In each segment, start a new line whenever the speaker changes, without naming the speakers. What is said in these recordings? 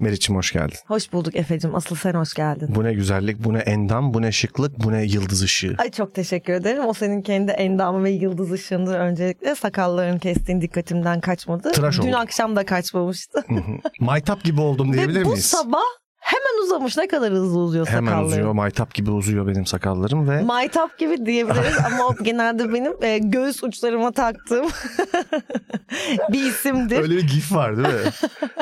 Meriç'im hoş geldin.
Hoş bulduk Efe'cim. Asıl sen hoş geldin.
Bu ne güzellik, bu ne endam, bu ne şıklık, bu ne yıldız ışığı.
Ay çok teşekkür ederim. O senin kendi endamı ve yıldız ışığındır öncelikle. Sakalların kestiğin dikkatimden kaçmadı.
Tıraş
Dün
oldum.
akşam da kaçmamıştı.
Hı hı. Maytap gibi oldum diyebilir
ve bu
miyiz?
sabah hemen uzamış. Ne kadar hızlı uzuyor
Hemen
sakalların.
uzuyor, maytap gibi uzuyor benim sakallarım ve
Maytap gibi diyebiliriz ama o genelde benim e, göğüs uçlarıma taktığım bir isimdir.
öyle bir gif var değil mi?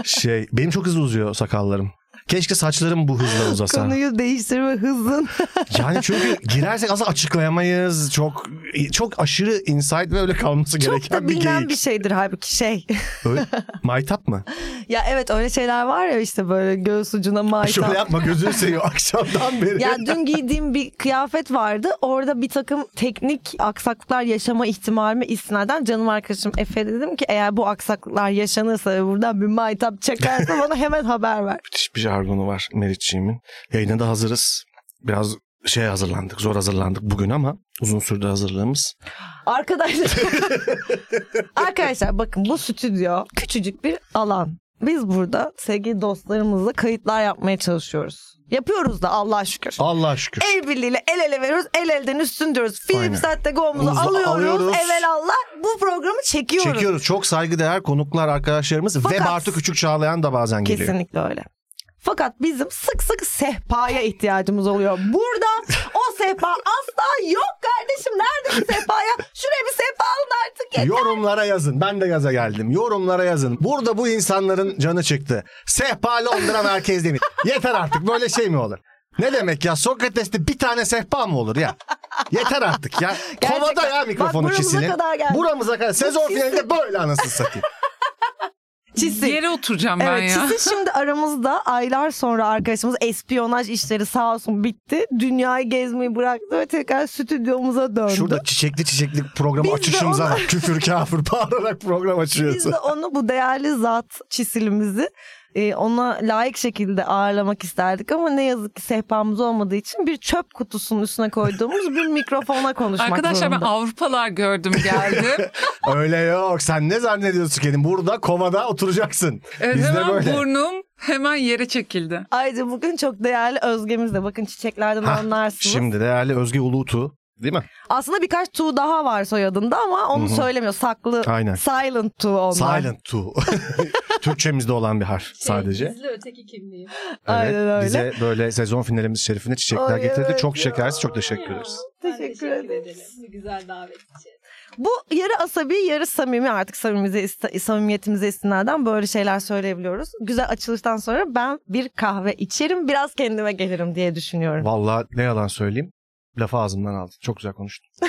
şey, benim çok hızlı uzuyor sakallarım. Keşke saçlarım bu hızla uzasa.
Konuyu değiştirme hızın.
Yani çünkü girersek aslında açıklayamayız. Çok çok aşırı insight ve öyle kalması
Çok
gereken
da
bir
bilinen
geyik.
bir şeydir halbuki şey.
Öyle, maytap mı?
ya evet öyle şeyler var ya işte böyle göğüs ucuna maytap.
Şöyle yapma gözünü seviyor akşamdan beri.
Ya dün giydiğim bir kıyafet vardı. Orada bir takım teknik aksaklıklar yaşama ihtimalimi istinaden canım arkadaşım Efe dedim ki eğer bu aksaklıklar yaşanırsa ve buradan bir maytap çekerse bana hemen haber ver.
müthiş bir jargonu var Meriççiğimin. Yayına da hazırız. Biraz şey hazırlandık, zor hazırlandık bugün ama uzun sürdü hazırlığımız.
Arkadaşlar Arkadaşlar bakın bu stüdyo küçücük bir alan. Biz burada sevgili dostlarımızla kayıtlar yapmaya çalışıyoruz. Yapıyoruz da Allah şükür.
Allah şükür.
El birliğiyle el ele veriyoruz. El elden üstün diyoruz.
Aynen.
Film saatte gomuzu
Uza-
alıyoruz.
alıyoruz.
Evelallah bu programı çekiyoruz.
Çekiyoruz. Çok saygıdeğer konuklar, arkadaşlarımız ve
Fakat-
Bartu Küçük Çağlayan da bazen geliyor.
Kesinlikle öyle. Fakat bizim sık sık sehpaya ihtiyacımız oluyor. Burada o sehpa asla yok kardeşim. Nerede bu sehpaya? Şuraya bir sehpa alın artık ya.
Yorumlara yazın. Ben de gaza geldim. Yorumlara yazın. Burada bu insanların canı çıktı. Sehpa Londra merkez demiş. Yeter artık böyle şey mi olur? Ne demek ya Sokrates'te bir tane sehpa mı olur ya? Yeter artık ya.
Gerçekten.
Kovada ya mikrofonu
Bak, buramıza
kişinin.
kadar geldi.
Buramıza kadar. Sezon finalinde böyle anasını satayım.
Çisil.
Yere oturacağım ben
Evet
ya.
Çisil şimdi aramızda aylar sonra arkadaşımız espiyonaj işleri sağ olsun bitti. Dünyayı gezmeyi bıraktı ve tekrar stüdyomuza döndü.
Şurada çiçekli çiçekli programı
Biz de
açışımıza
ona-
bak. Küfür kafir bağırarak program
Biz
açıyorsun.
de onu bu değerli zat çisilimizi e, ona layık şekilde ağırlamak isterdik ama ne yazık ki sehpamız olmadığı için bir çöp kutusunun üstüne koyduğumuz bir mikrofona konuşmak
Arkadaşlar ben
zorunda.
Avrupalar gördüm geldim.
Öyle yok. Sen ne zannediyorsun kendini? Burada kovada oturacaksın.
E,
Evet,
Bizde
Ee, hemen
böyle.
burnum hemen yere çekildi.
Ayrıca bugün çok değerli özgemiz de bakın çiçeklerden
Hah,
anlarsınız.
Şimdi değerli Özge Uluğtu değil mi?
Aslında birkaç tu daha var soyadında ama onu
Hı hı.
söylemiyor. Saklı
Aynen.
silent tu onlar. Şey,
Silent tu. Türkçemizde olan bir harf sadece.
Şey, Gizli öteki kimliği.
Aynen öyle.
Bize böyle sezon finalimiz şerifine çiçekler
Ay
getirdi.
evet
çok
ya.
şekersiz. Çok teşekkür ederiz.
Ben
Teşekkür ederiz.
ederim. Bu güzel davet için.
Bu yarı asabi yarı samimi artık samimize, samimiyetimize istinaden böyle şeyler söyleyebiliyoruz. Güzel açılıştan sonra ben bir kahve içerim biraz kendime gelirim diye düşünüyorum.
Vallahi ne yalan söyleyeyim. Lafı ağzımdan aldı. Çok güzel konuştun.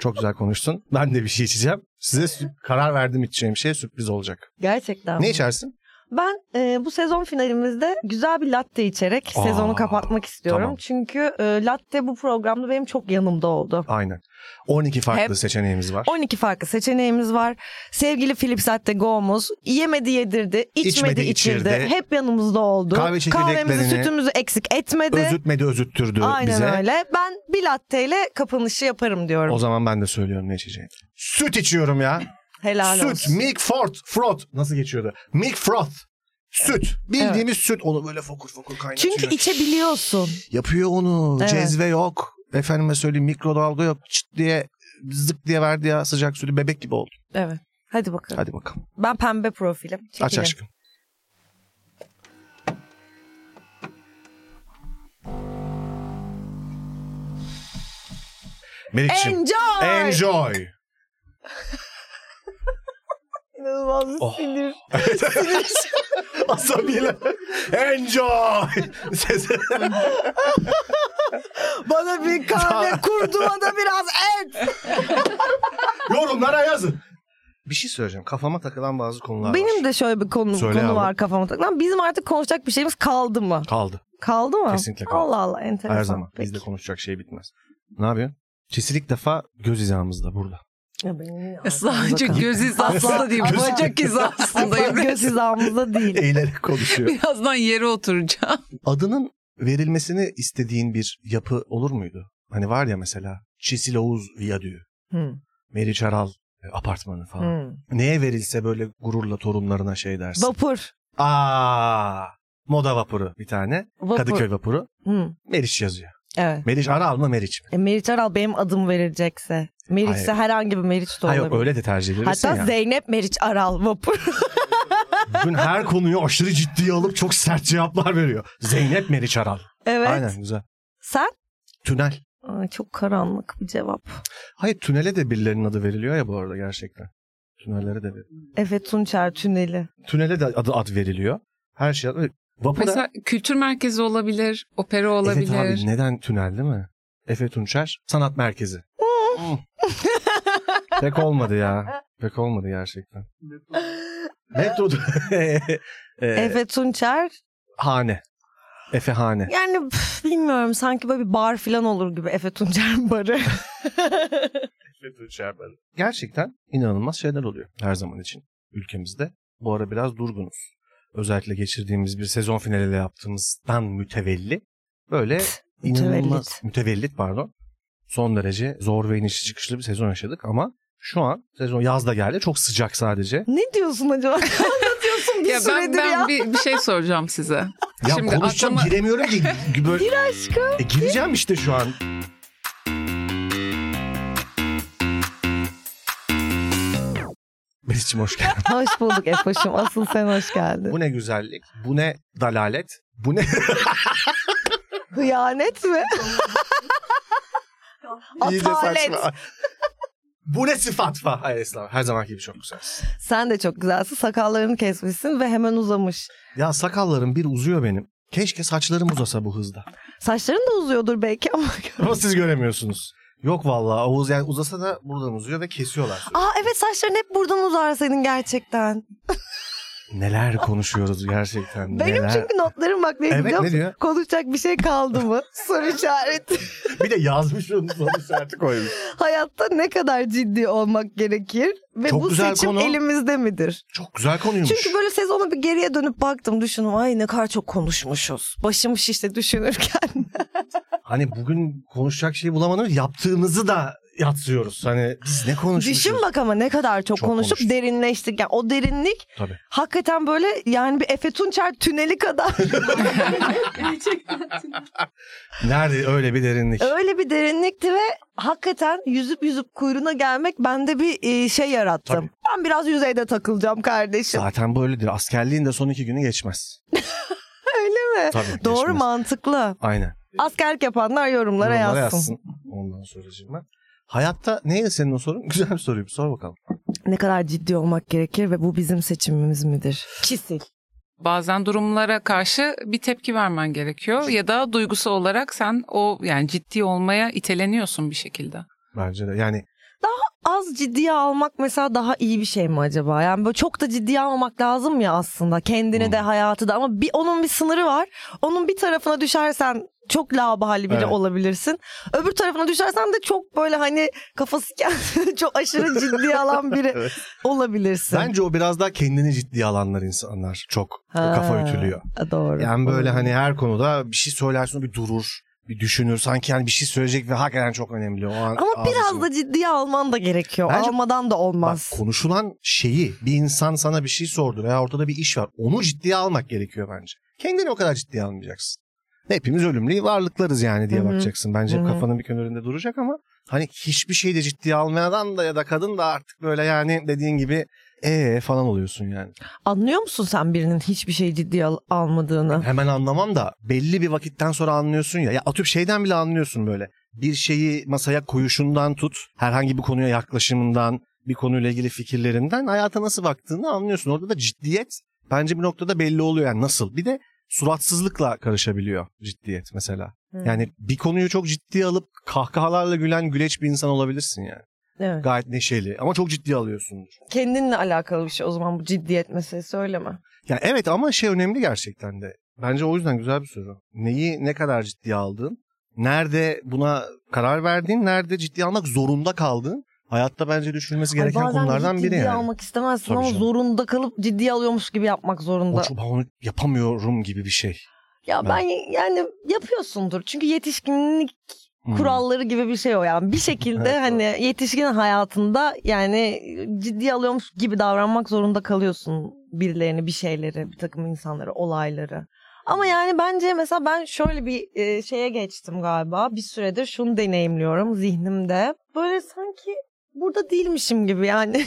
çok güzel konuştun. Ben de bir şey içeceğim. Size sü- karar verdim içeceğim şey sürpriz olacak.
Gerçekten.
Ne içersin?
Ben e, bu sezon finalimizde güzel bir latte içerek
Aa,
sezonu kapatmak istiyorum.
tamam.
Çünkü e, latte bu programda benim çok yanımda oldu.
Aynen. 12 farklı
Hep-
seçeneğimiz var.
12 farklı seçeneğimiz var. Sevgili Philips Latte Go'muz yemedi yedirdi, içmedi,
İçmedi,
içirdi.
içirdi.
Hep yanımızda oldu.
Kahve çekirdeklerini-
Kahvemizi, sütümüzü eksik etmedi.
Özütmedi özüttürdü
Aynen
bize.
öyle. Ben bir latteyle kapanışı yaparım diyorum.
O zaman ben de söylüyorum ne içeceğim. Süt içiyorum ya.
Helal
süt,
olsun.
Milk Froth, Froth nasıl geçiyordu? Milk Froth. Süt. Bildiğimiz süt. Onu böyle fokur fokur kaynatıyor.
Çünkü içebiliyorsun.
Yapıyor onu.
Evet.
Cezve yok. Efendime söyleyeyim mikrodalga yok. Çıt diye zık diye verdi ya sıcak sütü. Bebek gibi oldu.
Evet. Hadi bakalım.
Hadi bakalım.
Ben pembe profilim. Çekilin.
Aç aşkım. Melik'ciğim.
Enjoy.
Enjoy.
İnanılmaz bir
Oh.
sinir.
Asabiyle. Enjoy. Sesi-
Bana bir kahve kurduğuna da biraz et.
Yorumlara yazın. Bir şey söyleyeceğim. Kafama takılan bazı konular var.
Benim de şöyle bir konu,
Söyle
konu
yavrum.
var kafama takılan. Bizim artık konuşacak bir şeyimiz kaldı mı?
Kaldı.
Kaldı mı?
Kesinlikle kaldı.
Allah Allah enteresan.
Her zaman.
Peki.
Bizde konuşacak şey bitmez. Ne yapıyorsun? Çisil ilk defa göz hizamızda burada.
Ya benim ya.
Sadece
Bakalım.
göz hizasında değil,
Asla-
bacak
Asla
hizasındayım.
göz hizamızda değil.
Eğilerek konuşuyor.
Birazdan yere oturacağım.
Adının verilmesini istediğin bir yapı olur muydu? Hani var ya mesela Çisil Oğuz Viyadüğü,
Hı,
Meriç Aral e, apartmanı
Hmm.
falan.
hı.
Neye verilse böyle gururla torunlarına şey dersin.
Vapur.
Aa, Moda vapuru bir tane.
Vapur.
Kadıköy vapuru.
Hı,
Meriç yazıyor.
evet.
Meriç Aral mı Meriç mi?
E, Meriç Aral benim adım verilecekse. Meriç'se herhangi bir Meriç de
Ha
olabilir.
yok öyle de tercih edilirsin
Hatta
ya.
Zeynep Meriç Aral vapur.
Bugün her konuyu aşırı ciddiye alıp çok sert cevaplar veriyor. Zeynep Meriç Aral.
evet.
Aynen güzel.
Sen?
Tünel.
Ay, çok karanlık bir cevap.
Hayır tünele de birilerinin adı veriliyor ya bu arada gerçekten. Tünellere de veriliyor.
Efe Tunçer Tüneli.
Tünele de adı ad veriliyor. Her şey adı. Vapura.
Mesela kültür merkezi olabilir, opera
evet
olabilir.
abi neden tünel değil mi? Efe Tunçer Sanat Merkezi. Pek olmadı ya. Pek olmadı gerçekten. Metro. Ee,
Efe Tunçer.
Hane. Efe Hane.
Yani püf, bilmiyorum sanki böyle bir bar falan olur gibi Efe Tunçer barı.
Gerçekten inanılmaz şeyler oluyor her zaman için ülkemizde. Bu ara biraz durgunuz. Özellikle geçirdiğimiz bir sezon finaliyle yaptığımızdan mütevelli. Böyle inanılmaz
mütevellit.
mütevellit pardon. Son derece zor ve inişli çıkışlı bir sezon yaşadık ama şu an sezon yaz da geldi çok sıcak sadece.
ne diyorsun acaba? Anlatıyorsun bir
ya ben,
süredir
ben
ya.
Bir, bir şey soracağım size.
Ya
Şimdi
konuşacağım
aklıma-
giremiyorum ki. Böyle... Gir aşkım. E, gireceğim işte şu an. Mesut'cum hoş geldin.
Hoş bulduk Efe'şim. Asıl sen hoş geldin.
Bu ne güzellik, bu ne dalalet, bu ne...
Hıyanet mi?
İyice saçma.
Atalet.
bu ne sıfat fa? Hayır Esra, her zamanki gibi çok güzelsin.
Sen de çok güzelsin. Sakallarını kesmişsin ve hemen uzamış.
Ya sakallarım bir uzuyor benim. Keşke saçlarım uzasa bu hızda.
Saçların da uzuyordur belki ama.
Ama siz göremiyorsunuz. Yok vallahi Oğuz yani uzasa da buradan uzuyor ve kesiyorlar. sürekli.
Aa evet saçların hep buradan uzar senin gerçekten.
Neler konuşuyoruz gerçekten.
Benim
neler.
çünkü notlarım bak benim
Evet
biliyor
ne diyor?
musun? Konuşacak bir şey kaldı mı? Soru işareti.
Bir de yazmış onu soru işareti koymuş.
Hayatta ne kadar ciddi olmak gerekir? Ve
Çok
bu
güzel
seçim
konu.
elimizde midir?
Çok güzel konuymuş.
Çünkü böyle sezona bir geriye dönüp baktım düşündüm. Ay ne kadar çok konuşmuşuz. Başım şişti düşünürken.
Hani bugün konuşacak şeyi bulamadığımız yaptığımızı da yatsıyoruz. Hani biz ne konuşmuşuz?
Düşün bak ama ne kadar çok,
Çok
konuşup
konuştuk.
derinleştik. Yani o derinlik
Tabii.
hakikaten böyle yani bir Efe Tunçer tüneli kadar
Gerçekten.
Nerede öyle bir derinlik?
öyle bir derinlikti ve hakikaten yüzüp yüzüp kuyruğuna gelmek bende bir e, şey yarattı.
Tabii.
Ben biraz yüzeyde takılacağım kardeşim.
Zaten böyledir. Askerliğin de son iki günü geçmez.
Öyle mi?
Tabii
Doğru
geçmez.
mantıklı.
Aynen.
Askerlik yapanlar yorumlara,
Yorumlara
yazsın.
Ondan soracağım ben. Hayatta neydi senin o sorun? Güzel bir soruymuş. Sor bakalım.
Ne kadar ciddi olmak gerekir ve bu bizim seçimimiz midir? Çisil.
Bazen durumlara karşı bir tepki vermen gerekiyor ya da duygusu olarak sen o yani ciddi olmaya iteleniyorsun bir şekilde.
Bence de. Yani
Az ciddiye almak mesela daha iyi bir şey mi acaba? Yani böyle çok da ciddiye almamak lazım ya aslında kendini
Hmm.
de hayatı da ama bir onun bir sınırı var. Onun bir tarafına düşersen çok labali biri
Evet.
olabilirsin. Öbür tarafına düşersen de çok böyle hani kafası kendini çok aşırı ciddiye alan biri
Evet.
olabilirsin.
bence o biraz daha kendini ciddiye alanlar insanlar çok. O kafa
Ha,
ütülüyor.
Doğru.
Yani böyle hani her konuda bir şey söylersin o bir durur. Bir düşünür. Sanki yani bir şey söyleyecek ve hakikaten çok önemli. O an
Ama biraz
ağzını-
da ciddiye alman da gerekiyor.
Bence-
Almadan da
Bak,
olmaz.
konuşulan şeyi bir insan sana bir şey sordu veya ortada bir iş var. Onu ciddiye almak gerekiyor bence. Kendini o kadar ciddiye almayacaksın. Hepimiz ölümlü varlıklarız yani diye
Hı hı.
bakacaksın. Bence
Hı hı.
kafanın bir kenarında duracak ama hani hiçbir şeyi de ciddiye almayan da ya da kadın da artık böyle yani dediğin gibi ee falan oluyorsun yani.
Anlıyor musun sen birinin hiçbir şeyi ciddiye al- almadığını?
Hemen anlamam da belli bir vakitten sonra anlıyorsun ya. Ya atıp şeyden bile anlıyorsun böyle. Bir şeyi masaya koyuşundan tut, herhangi bir konuya yaklaşımından, bir konuyla ilgili fikirlerinden hayata nasıl baktığını anlıyorsun. Orada da ciddiyet bence bir noktada belli oluyor yani nasıl. Bir de suratsızlıkla karışabiliyor ciddiyet mesela. Yani bir konuyu çok ciddiye alıp kahkahalarla gülen güleç bir insan olabilirsin yani.
Evet.
Gayet neşeli ama çok ciddiye alıyorsun.
Kendinle alakalı bir şey o zaman bu ciddiyet meselesi öyle mi?
Ya evet ama şey önemli gerçekten de. Bence o yüzden güzel bir soru. Neyi ne kadar ciddiye aldın? Nerede buna karar verdin? Nerede ciddiye almak zorunda kaldın? Hayatta bence düşünülmesi gereken
Ay, bazen
konulardan biri
ciddiye
yani.
almak istemezsin
Tabii
ama
canım.
zorunda kalıp ciddiye alıyormuş gibi yapmak zorunda.
O çok "Ben onu yapamıyorum gibi bir şey.
Ya ben yani yapıyorsundur. Çünkü yetişkinlik
Hmm.
kuralları gibi bir şey o yani. Bir şekilde
Evet,
hani yetişkin hayatında yani ciddiye alıyormuş gibi davranmak zorunda kalıyorsun birilerini, bir şeyleri, bir takım insanları, olayları. Ama yani bence mesela ben şöyle bir e, şeye geçtim galiba. Bir süredir şunu deneyimliyorum zihnimde. Böyle sanki burada değilmişim gibi yani.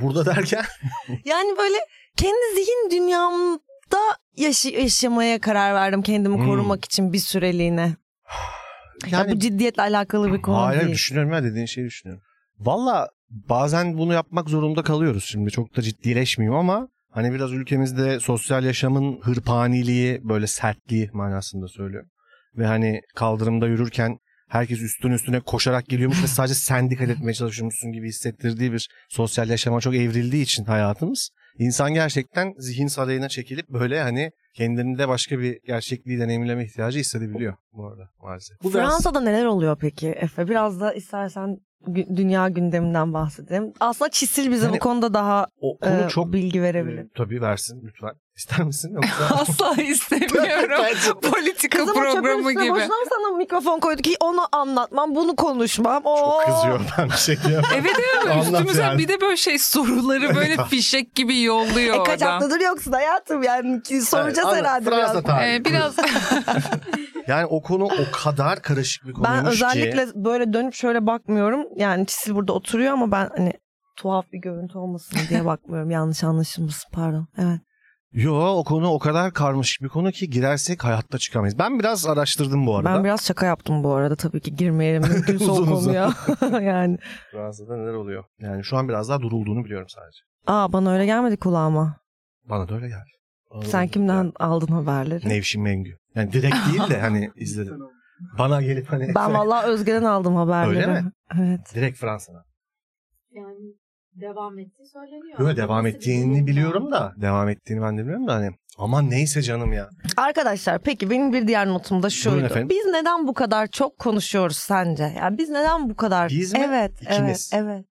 Burada derken
yani böyle kendi zihin dünyamda yaşı- yaşamaya karar verdim kendimi
Hmm.
korumak için bir süreliğine.
yani
ya bu ciddiyetle alakalı bir konu
hayır, hayır,
değil.
düşünüyorum ya dediğin şeyi düşünüyorum. Valla bazen bunu yapmak zorunda kalıyoruz şimdi çok da ciddileşmeyeyim ama hani biraz ülkemizde sosyal yaşamın hırpaniliği böyle sertliği manasında söylüyorum. Ve hani kaldırımda yürürken herkes üstün üstüne koşarak geliyormuş ve sadece sen dikkat etmeye çalışıyormuşsun gibi hissettirdiği bir sosyal yaşama çok evrildiği için hayatımız. İnsan gerçekten zihin sarayına çekilip böyle hani kendinde başka bir gerçekliği deneyimleme ihtiyacı hissedebiliyor bu arada maalesef. Bu biraz-
Fransa'da neler oluyor peki Efe? Biraz da istersen gü- dünya gündeminden bahsedelim. Aslında Çisil bize
Yani
bu konuda daha
O konu
e,
çok
bilgi verebilir.
Ee, tabii versin lütfen. İster misin yoksa?
Asla istemiyorum. Politika
Kızım o çöpün
programı
üstüne
gibi.
boşuna mı sana mikrofon koyduk ki onu anlatmam, bunu konuşmam. Oo.
Çok kızıyor ben bir şey diyemem.
Evet evet
Anlat
üstümüze
yani.
bir de böyle şey soruları böyle fişek gibi yolluyor
E kaç
adam.
haftadır yoksun hayatım yani ki soracağız
Anlat,
herhalde
Fransa
biraz.
tarihi.
Ee, biraz
Yani o konu o kadar karışık bir konuymuş
Ben özellikle
ki.
böyle dönüp şöyle bakmıyorum. Yani Çisil burada oturuyor ama ben hani tuhaf bir görüntü olmasın diye bakmıyorum. Yanlış anlaşılmasın pardon. Evet.
Yo o konu o kadar karmaşık bir konu ki girersek hayatta çıkamayız. Ben biraz araştırdım bu arada.
Ben biraz şaka yaptım bu arada tabii ki girmeyelim mümkünse o
Uzun uzun.
konuya. yani
Fransa'da neler oluyor? Yani şu an biraz daha durulduğunu biliyorum sadece.
aa bana öyle gelmedi kulağıma.
Bana da öyle geldi. Bana da
Sen
öyle
kimden
geldi.
aldın haberleri?
Nevşin Mengü. Yani direkt değil de hani izledim. Bana gelip hani
Ben vallahi Özge'den aldım haberleri.
Öyle mi?
Evet.
direkt Fransa'dan.
Yani devam ettiği söyleniyor.
Böyle devam ettiğini biliyorum da. Devam ettiğini ben de biliyorum da hani aman neyse canım ya.
Arkadaşlar peki benim bir diğer notum da
Buyurun
şuydu.
efendim.
Biz neden bu kadar çok konuşuyoruz sence? Yani biz neden bu kadar?
Biz mi?
Evet,
İkimiz.
evet, evet.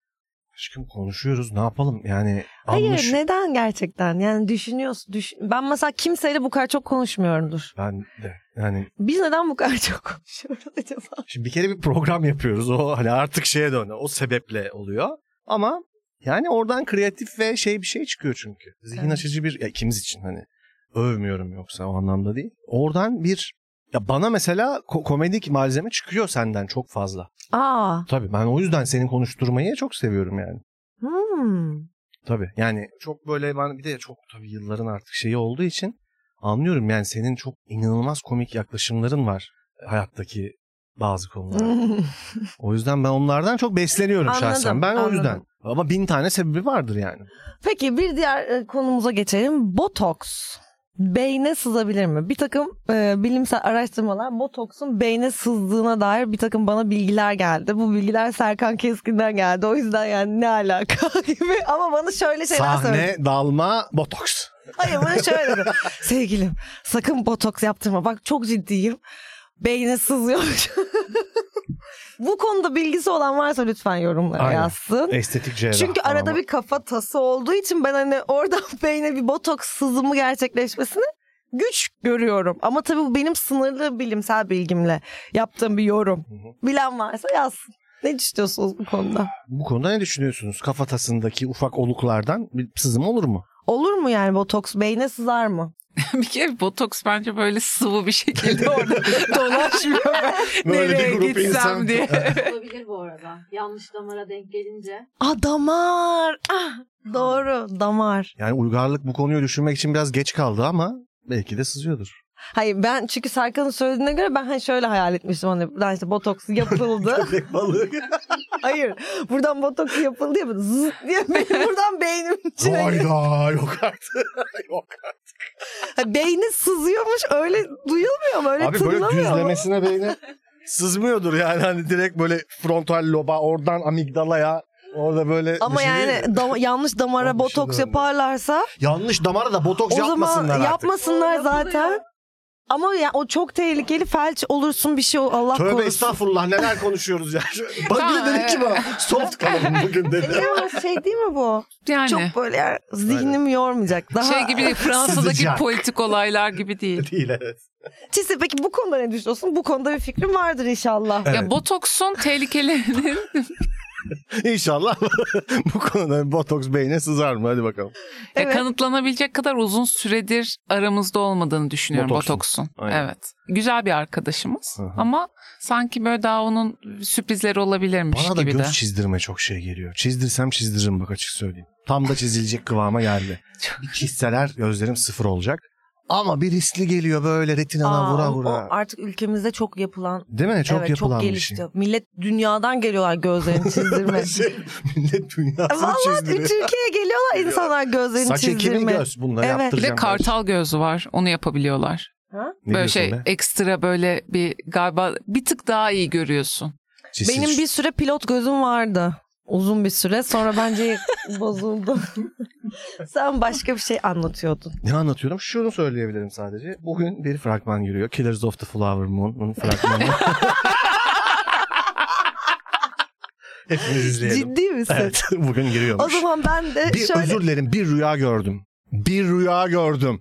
Aşkım konuşuyoruz ne yapalım yani
Hayır,
anlaş-
neden gerçekten? Yani düşünüyorsun. Düş... Ben mesela kimseyle bu kadar çok konuşmuyorumdur.
Ben de yani
Biz neden bu kadar çok konuşuyoruz acaba?
şimdi bir kere bir program yapıyoruz o hani artık şeye döndü o sebeple oluyor ama yani oradan kreatif ve şey bir şey çıkıyor çünkü. Zihin
Evet.
açıcı bir ya ikimiz için hani övmüyorum yoksa o anlamda değil. Oradan bir ya bana mesela ko- komedik malzeme çıkıyor senden çok fazla.
Aa.
Tabii ben o yüzden senin konuşturmayı çok seviyorum yani.
Hmm.
Tabii yani çok böyle ben bir de çok tabii yılların artık şeyi olduğu için anlıyorum yani senin çok inanılmaz komik yaklaşımların var hayattaki bazı konulara. o yüzden ben onlardan çok besleniyorum
Anladım,
şahsen. Ben o
anladım.
yüzden. Ama bin tane sebebi vardır yani.
Peki bir diğer e, konumuza geçelim. Botoks beyne sızabilir mi? Bir takım e, bilimsel araştırmalar botoksun beyne sızdığına dair bir takım bana bilgiler geldi. Bu bilgiler Serkan Keskin'den geldi. O yüzden yani ne alaka gibi. Ama bana şöyle şeyler söyledi.
Sahne, dalma, botoks.
Hayır bana şöyle dedi. Sevgilim sakın botoks yaptırma. Bak çok ciddiyim. Beyne sızıyor. Bu konuda bilgisi olan varsa lütfen yorumlara
Aynen.
yazsın.
Estetik cerrah.
Çünkü
falan
arada
var.
bir kafa tası olduğu için ben hani oradan beyne bir botoks sızımı gerçekleşmesini güç görüyorum. Ama tabii bu benim sınırlı bilimsel bilgimle yaptığım bir yorum.
Hı hı.
Bilen varsa yazsın. Ne düşünüyorsunuz bu konuda?
Bu konuda ne düşünüyorsunuz? Kafatasındaki ufak oluklardan bir sızım olur mu?
Olur mu yani botoks beyne sızar mı?
bir kere botoks bence böyle sıvı bir şekilde orada dolaşmıyor ben
Böyle bir
nereye
grup
gitsem
insan.
diye.
Olabilir bu arada. Yanlış damara denk gelince.
Aa damar. Ah, doğru damar.
Yani uygarlık bu konuyu düşünmek için biraz geç kaldı ama belki de sızıyordur.
Hayır ben çünkü Serkan'ın söylediğine göre ben hani şöyle hayal etmiştim. Hani buradan işte botoks yapıldı.
Balığı.
Hayır buradan botoks yapıldı ya böyle zzz diye benim buradan beynimin içine
Hayda yok artık. yok.
Ha, Beyni Hani sızıyormuş öyle duyulmuyor mu? Öyle
Abi böyle
tınlamıyor mu?
düzlemesine beyni sızmıyordur yani hani direkt böyle frontal loba oradan amigdalaya orada böyle
Ama
bir şey
yani
değil.
dam- yanlış damara
Yanlış
botoks
döndü.
yaparlarsa
yanlış damara da botoks
o zaman
yapmasınlar artık.
yapmasınlar
O yapılıyor.
zaten. Ama ya, o çok tehlikeli felç olursun bir şey ol- Allah
Tövbe
korusun.
estağfurullah neler konuşuyoruz ya. Bak
Tamam,
ne dedik ki bana soft kalalım bugün dedi.
Ya, şey değil mi bu?
Yani
Çok böyle yani zihnimi yormayacak. Daha...
Hani? şey gibi değil, Fransa'daki
Sızacak.
politik olaylar gibi değil.
Değil evet.
Çizse peki bu konuda
Ee,
ne düşünüyorsun? Bu konuda bir fikrim vardır inşallah.
Evet.
Ya botoksun tehlikelerinden
İnşallah bu konuda botoks beyne sızar mı? Hadi bakalım.
Ya
Evet.
kanıtlanabilecek kadar uzun süredir aramızda olmadığını düşünüyorum
Botoksun.
Botoks'un.
Aynen.
Evet. Güzel bir arkadaşımız
Hı hı.
ama sanki böyle daha onun sürprizleri olabilirmiş
Bana da
gibi
göz
de.
çizdirme çok şey geliyor. Çizdirsem çizdiririm bak açık söyleyeyim. Tam da çizilecek kıvama geldi. Bir Çizseler gözlerim sıfır olacak. Ama bir riskli geliyor böyle retinana
Aa,
vura
o-
vura.
o artık ülkemizde çok yapılan
Değil mi? Çok
evet,
yapılan
çok
bir
gelişti.
şey.
Millet dünyadan geliyorlar gözlerini çizdirme.
Şey, millet dünyasını
Vallahi
çizdiriyor.
Türkiye'ye geliyorlar insanlar gözlerini
Saç ekimi
çizdirme.
göz. Bunları
Evet. Bir de
Bir de
yaptıracağım.
kartal gözü var. Onu yapabiliyorlar.
Ha?
Ne
böyle
diyorsun
şey
be?
ekstra böyle bir galiba bir tık daha iyi görüyorsun.
Cisil
Benim bir süre pilot gözüm vardı. Uzun bir süre sonra bence bozuldu. Sen başka bir şey anlatıyordun.
Ne anlatıyordum? Şunu söyleyebilirim sadece. Bugün bir fragman giriyor. Killers of the Flower Moon'un fragmanı. Hepimiz izleyelim.
Ciddi misin?
Evet, bugün giriyormuş.
O zaman ben de
bir
şöyle
özür dilerim bir rüya gördüm. Bir rüya gördüm.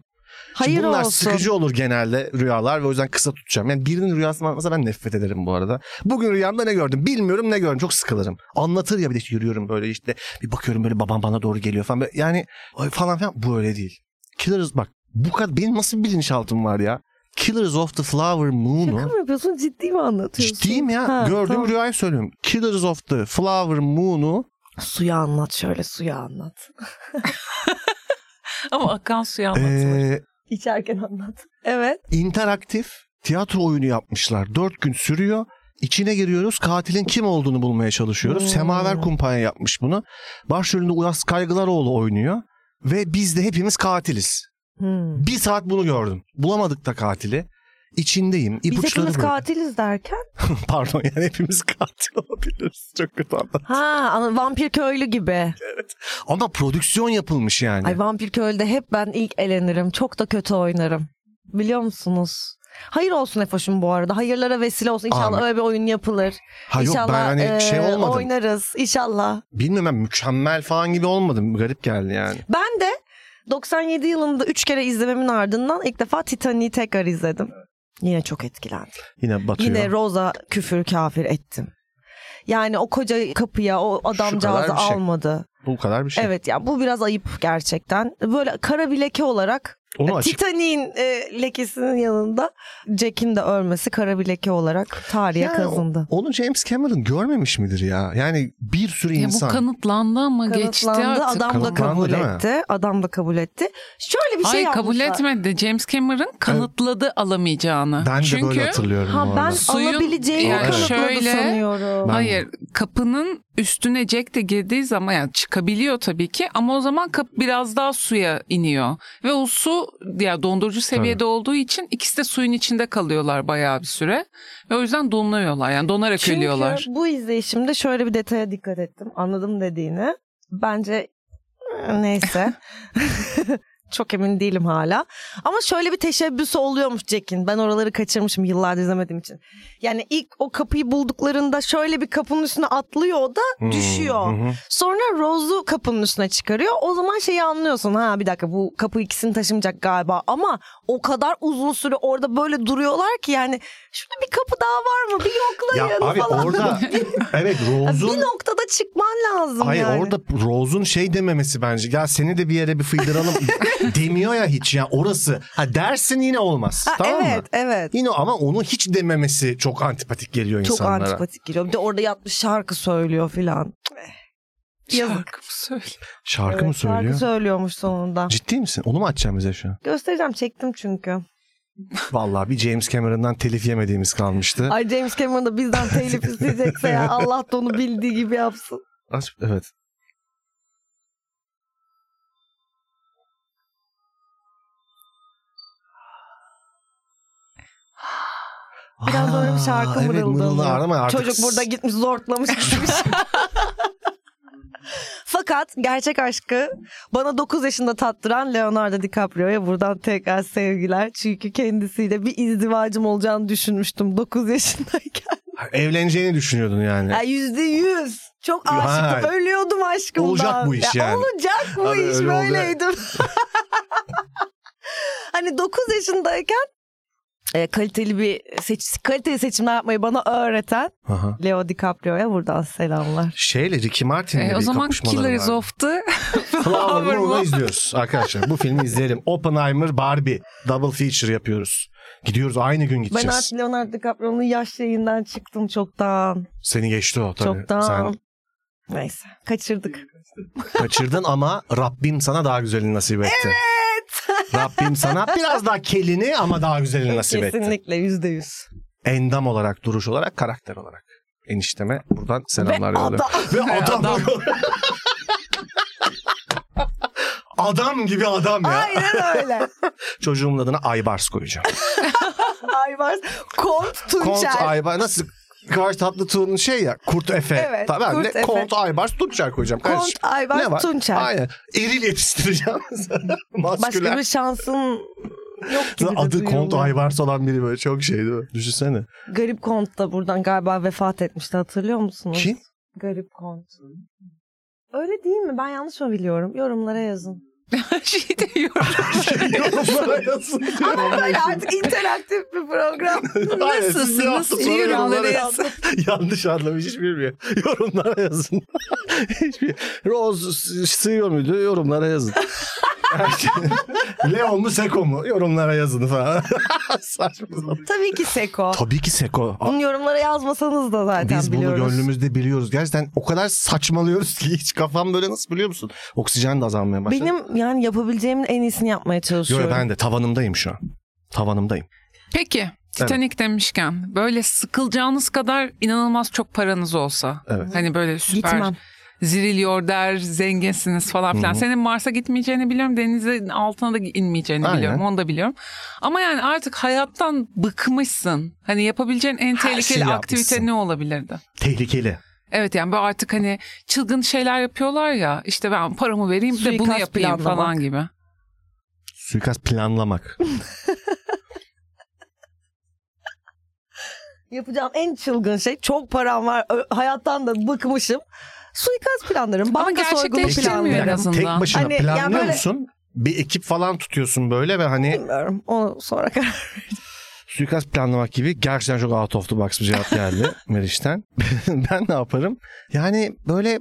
Şimdi
hayır
bunlar
olsun.
sıkıcı olur genelde rüyalar ve o yüzden kısa tutacağım. Yani birinin rüyasını anlatmasa ben nefret ederim bu arada. Bugün rüyamda ne gördüm bilmiyorum ne gördüm çok sıkılırım. Anlatır ya bir de işte yürüyorum böyle işte bir bakıyorum böyle babam bana doğru geliyor falan. Böyle Yani ay falan filan bu öyle değil. Killers bak bu kadar benim nasıl bir bilinçaltım var ya. Killers of the Flower
Şaka
Moon'u
mı yapıyorsun ciddi mi anlatıyorsun?
ciddiyim ya
Ha,
gördüğüm
tamam.
rüyayı söylüyorum. Killers of the Flower Moon'u
Suya anlat şöyle suya anlat.
Ama akan suya anlatılır.
eee
İçerken anlat. Evet.
interaktif tiyatro oyunu yapmışlar. Dört gün sürüyor. İçine giriyoruz. Katilin kim olduğunu bulmaya çalışıyoruz.
Hmm.
Semaver Kumpanya yapmış bunu. Başrolünde Uras Kaygılaroğlu oynuyor. Ve biz de hepimiz katiliz.
Hmm.
Bir saat bunu gördüm. Bulamadık da katili. İçindeyim.
Biz
İpuçları
hepimiz
böyle.
katiliz derken.
Pardon yani hepimiz katil olabiliriz. Çok kötü anladım.
Ha ana- vampir köylü gibi.
Ama prodüksiyon yapılmış yani.
Ay vampir köylüde hep ben ilk elenirim. Çok da kötü oynarım. Biliyor musunuz? Hayır olsun Efoş'um bu arada. Hayırlara vesile olsun. İnşallah
Amin.
öyle bir oyun yapılır.
ha yok ben hani
e,
şey olmadım.
oynarız inşallah.
Bilmiyorum ben mükemmel falan gibi olmadım. Garip geldi yani.
Ben de 97 yılında 3 kere izlememin ardından ilk defa Titanic'i tekrar izledim. Yine çok etkilendim.
Yine batıyor.
Yine Rosa küfür kafir ettim. Yani o koca kapıya o adamcağızı
kadar bir şey.
almadı.
Bu kadar bir şey.
Evet ya bu biraz ayıp gerçekten. Böyle kara bir leke olarak
Onu açık
Titanic'in e, lekesinin yanında Jack'in de ölmesi kara bir leke olarak tarihe
Yani o-
kazındı.
Onu James Cameron görmemiş midir ya? Yani bir sürü
Ya bu
insan.
kanıtlandı ama geçti
Kanıtlandı,
artık.
adam da
Kanıtlandı,
kabul
değil mi?
etti. Adam da kabul etti. Şöyle bir şey
Hayır
yapmışlar.
kabul etmedi. James Cameron kanıtladı alamayacağını.
Ben de
Çünkü,
böyle hatırlıyorum
Ha
bu
ben
arada.
Suyun-
alabileceğini
Yani
kanıtladı
şöyle-
sanıyorum.
Ben-
Hayır kapının üstüne Jack de girdiği zaman yani çıkabiliyor tabii ki ama o zaman kap biraz daha suya iniyor. Ve o su ya dondurucu seviyede olduğu için ikisi de suyun içinde kalıyorlar bayağı bir süre. Ve o yüzden donuyorlar yani donarak ölüyorlar.
Çünkü bu izleyişimde şöyle bir detaya dikkat ettim. Anladım dediğini. Bence e, neyse. Çok emin değilim hala. Ama şöyle bir teşebbüsü oluyormuş Jack'in. Ben oraları kaçırmışım yıllardır izlemediğim için. Yani ilk o kapıyı bulduklarında şöyle bir kapının üstüne atlıyor o da
Hmm,
düşüyor.
hı hı.
Sonra Rose'u kapının üstüne çıkarıyor. O zaman şeyi anlıyorsun. Ha bir dakika bu kapı ikisini taşımayacak galiba. Ama o kadar uzun süre orada böyle duruyorlar ki yani şurada bir kapı daha var mı? Bir
Ya
yoklayın
abi
falan.
orada evet
Ya
Rose'un
Bir noktada çıkman lazım
Hayır
yani.
orada Rose'un şey dememesi bence. Ya seni de bir yere bir fıydıralım demiyor ya hiç ya orası. Ha dersin yine olmaz.
Ha,
tamam
evet
mı?
evet.
Yine ama onu hiç dememesi çok antipatik geliyor
Çok
insanlara.
antipatik geliyor. Bir de orada yatmış şarkı söylüyor filan. Yazık.
Şarkı mı söyle?
Şarkı
Evet,
mı söylüyor?
Şarkı söylüyormuş sonunda.
Ciddi misin? Onu mu açacağım bize şu an?
Göstereceğim çektim çünkü.
Vallahi bir James Cameron'dan telif yemediğimiz kalmıştı.
Ay James Cameron da bizden telif isteyecekse ya Allah da onu bildiği gibi yapsın.
Aç- Evet.
Biraz
Aa,
öyle bir şarkı
evet, mırıldandı
mırıldanıyor.
ama artık
Çocuk burada gitmiş zortlamış gitmiş. şey. Fakat gerçek aşkı bana 9 yaşında tattıran Leonardo DiCaprio'ya buradan tekrar sevgiler. Çünkü kendisiyle bir izdivacım olacağını düşünmüştüm 9 yaşındayken.
Evleneceğini düşünüyordun yani.
Ya Yüzde yüz. Çok
Vay.
aşıktım. Ölüyordum aşkımdan.
Olacak bu iş
Ya
yani.
Olacak bu
Abi
iş.
öyle olacak.
Böyleydim. hani 9 yaşındayken e, kaliteli bir seç kaliteli seçimler yapmayı bana öğreten
Aha.
Leo DiCaprio'ya buradan selamlar.
Şeyle Ricky Martin'le
E, o
bir
zaman
kapışmaları
Killers
vardı.
of the
Flower
Flower
Moon'u
Moon.
izliyoruz arkadaşlar. Bu filmi izleyelim. Oppenheimer, Barbie. Double feature yapıyoruz. Gidiyoruz aynı gün
Ben
gideceğiz.
artık Leonardo DiCaprio'nun yaş yayından çıktım çoktan.
Seni geçti o tabii.
çoktan.
Sen
Neyse kaçırdık.
kaçırdın ama Rabbim sana daha güzelini nasip etti. Evet. Rabbim sana biraz daha kelini ama daha güzelini nasip etti.
Kesinlikle yüzde yüz.
Endam olarak, duruş olarak, karakter olarak. Enişteme buradan selamlar
Ve
yolluyorum. Ve adam.
adam.
adam gibi adam ya.
Aynen öyle.
Çocuğumun adına Aybars koyacağım.
Aybars. Kont
Kont
Tunçer.
Aybars nasıl Kıvanç Tatlıtuğ'un şey ya Kurt Efe.
Evet,
Tabii ben
Kurt
de
Efe.
Kont Aybars Tunçer koyacağım.
Kont
Kardeşim, ne var?
Aybars Tunçer.
Aynen. Eril yetiştireceğim.
Başka
Masküler.
bir şansın yok gibi de
Adı Kont
duyuyorum.
Aybars olan biri böyle çok şey değil mi? Düşünsene.
Garip Kont da buradan galiba vefat etmişti hatırlıyor musunuz?
Kim?
Garip Kont. Öyle değil mi? Ben yanlış mı biliyorum? Yorumlara yazın.
şey diyorum.
Yorumlara Şey yazın.
Böyle artık interaktif bir program.
Aynen, siz
Nasılsınız?
bir hafta sonra
İyi
yorumlara
yorumlara
yazın. Yanlış anlamış hiç bilmiyor. Yorumlara yazın. Hiçbir... Rose s- sığıyor muydu? Yorumlara yazın. şey- Leo mu Seko mu? Yorumlara yazın falan. Saçma sapan.
Tabii ki Seko.
Tabii ki Seko. A-
Bunu yorumlara yazmasanız da zaten
Biz bunu
biliyoruz.
gönlümüzde biliyoruz. Gerçekten o kadar saçmalıyoruz ki hiç kafam böyle nasıl biliyor musun? Oksijen de azalmaya başladı.
Benim yani yapabileceğimin en iyisini yapmaya
Yo,
çalışıyorum.
yo, ben de tavanımdayım şu an. Tavanımdayım.
Peki Titanic demişken böyle sıkılacağınız kadar inanılmaz çok paranız olsa.
Evet.
Hani böyle süper
Gitmem.
ziriliyor der zenginsiniz falan filan. Senin Mars'a gitmeyeceğini biliyorum. Denizin altına da inmeyeceğini
Aynen.
biliyorum. Onu da biliyorum. Ama yani artık hayattan bıkmışsın. Hani yapabileceğin en tehlikeli
şeyi
aktivite
yapmışsın.
ne olabilirdi?
Tehlikeli.
Evet yani böyle artık hani çılgın şeyler yapıyorlar ya. İşte ben paramı vereyim de bunu
Suikast
yapayım
planlamak.
falan gibi.
Suikast planlamak.
Yapacağım en çılgın şey çok param var ö- hayattan da bıkmışım. Suikast planlarım, banka soygunu
gerçekleştirmiyor
planlarım.
en azından.
Tek başına
Hani ya
planlıyor
böyle-
musun? Bir ekip falan tutuyorsun böyle ve hani
Bilmiyorum. O sonra karar.
suikast planlamak gibi gerçekten çok out of the box bir cevap geldi Meriç'ten. ben ne yaparım? Yani böyle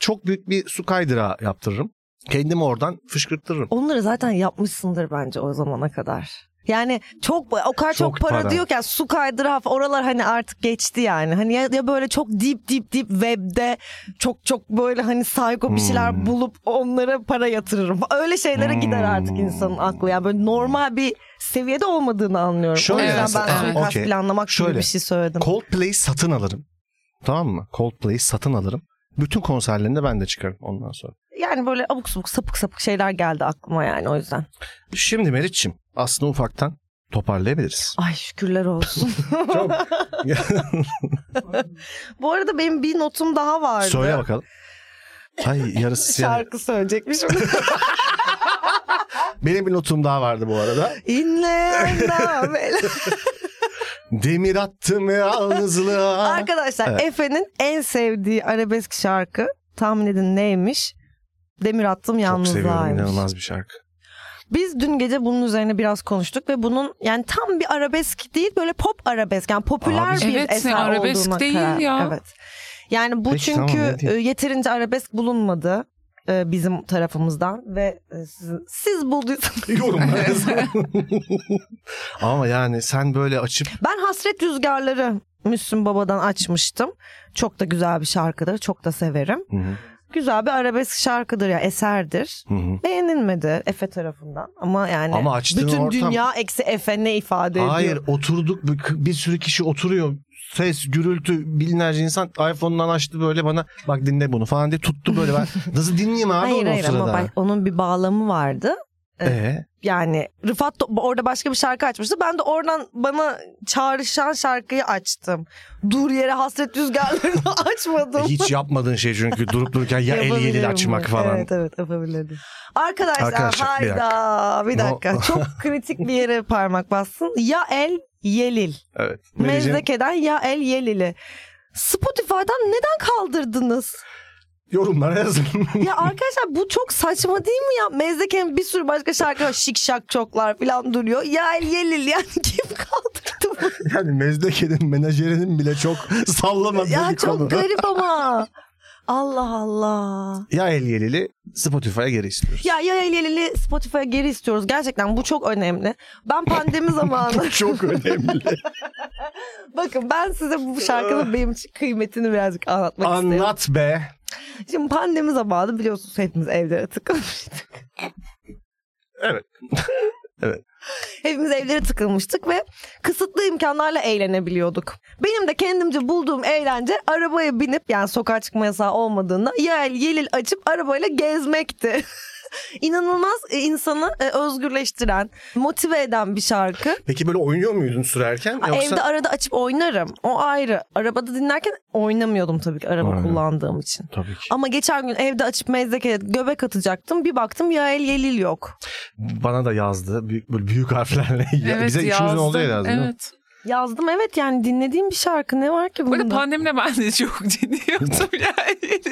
çok büyük bir su kaydırağı yaptırırım. Kendimi oradan fışkırtırım.
Onları zaten yapmışsındır bence o zamana kadar. Yani çok o kadar çok,
Çok
para,
para.
diyorken su kaydıra oralar hani artık geçti yani. Hani ya, ya böyle çok deep deep deep webde çok çok böyle hani psycho bir şeyler
Hmm.
bulup onlara para yatırırım. Öyle şeylere gider
Hmm.
artık insanın aklı. Yani böyle normal bir seviyede olmadığını anlıyorum.
Şöyle
o yüzden
aslında-
ben
Evet.
suikast
Okey.
planlamak
Şöyle.
gibi bir şey söyledim.
Coldplay'i satın alırım. Tamam mı? Coldplay'i satın alırım. Bütün konserlerinde ben de çıkarım ondan sonra.
Yani böyle abuk subuk sapık sapık şeyler geldi aklıma yani o yüzden.
Şimdi Meriç'im aslında ufaktan toparlayabiliriz.
Ay şükürler olsun.
Çok.
Bu arada benim bir notum daha vardı.
Söyle bakalım. Ay yarısı siyah.
Şarkı söyleyecekmişim.
Benim bir notum daha vardı bu arada.
İnle anla böyle.
Demir attım yalnızlığa.
Arkadaşlar
Evet.
Efe'nin en sevdiği arabesk şarkı tahmin edin neymiş? Demir
Çok
attım
seviyorum
yalnızlığaymış.
inanılmaz bir şarkı.
Biz dün gece bunun üzerine biraz konuştuk ve bunun yani tam bir arabesk değil böyle pop arabesk yani popüler
Abi-
bir
Evet,
eser
arabesk
olduğuna
değil
karar-
ya.
Evet. Yani bu
Peki,
çünkü
tamam, ne diyeyim?
e, yeterince arabesk bulunmadı e, bizim tarafımızdan ve e, sizin- siz bulduysanız
Yorumlar. Ama yani sen böyle açıp
Ben Hasret Rüzgarları Müslüm Baba'dan açmıştım. Çok da güzel bir şarkıdır. Çok da severim.
Hı hı,
Güzel bir arabesk şarkıdır ya eserdir.
hı hı.
Beğenilmedi Efe tarafından ama yani
Ama açtığın
bütün
ortam-
dünya eksi Efe ne ifade
Hayır
ediyor?
oturduk bir- bir sürü kişi oturuyor. Ses, gürültü, binlerce insan iPhone'dan açtı böyle bana bak dinle bunu falan diye tuttu böyle ben. Nasıl dinleyeyim abi
Hayır
onu
hayır
o sırada?
ama bak onun bir bağlamı vardı.
Ee,
Yani Rıfat da- orada başka bir şarkı açmıştı. Ben de oradan bana çağrışan şarkıyı açtım. Dur yere hasret rüzgarlarını açmadım.
hiç yapmadığın şey çünkü durup dururken ya el
Yapabilirim
yelil açmak
bunu.
falan.
Evet evet yapabilirim. Arkadaşlar,
Arkadaşlar, bir
hayda
No.
bir dakika. Çok kritik bir yere parmak bassın. Ya el yelil.
Evet. Melih'cim,
Mezlekeden ya el yelili. Spotify'dan neden kaldırdınız?
Yorumlara yazın.
Ya arkadaşlar bu çok saçma değil mi ya? Mezdeken'in bir sürü başka şarkı var. Şik şak çoklar falan duruyor. Ya el yelil yani kim kaldırdı bunu?
yani Mezdeke'nin menajerinin bile çok sallamadığı
Ya
bir konu.
çok garip ama. Allah Allah.
Ya el yelili Spotify'a geri istiyoruz.
Ya ya el yelili Spotify'a geri istiyoruz. Gerçekten bu çok önemli. Ben pandemi zamanı.
Çok önemli.
Bakın ben size bu şarkının benim için kıymetini birazcık anlatmak istiyorum.
Anlat be.
Şimdi pandemi zamanı biliyorsunuz hepimiz evlere tıkılmıştık.
Evet. Evet.
Hepimiz evlere tıkılmıştık ve kısıtlı imkanlarla eğlenebiliyorduk. Benim de kendimce bulduğum eğlence arabaya binip yani sokağa çıkma yasağı olmadığında yel yelil açıp arabayla gezmekti. İnanılmaz e, insanı e, özgürleştiren, motive eden bir şarkı.
Peki böyle oynuyor muydun sürerken?
Aa, Evde arada açıp oynarım. O ayrı. Arabada dinlerken oynamıyordum tabii ki araba
Aynen.
kullandığım için.
Tabii ki.
Ama geçen gün evde açıp mezdeke göbek atacaktım. Bir baktım Yael Yelil yok.
Bana da yazdı. Büyük, böyle büyük harflerle. Ya-
evet,
Bize işimizin
yazdım.
olduğu yere yazdı. değil mi?
Evet.
Yazdım evet yani dinlediğim bir şarkı ne var ki
Bu arada
bunda?
pandemide ben de çok dinliyordum yani.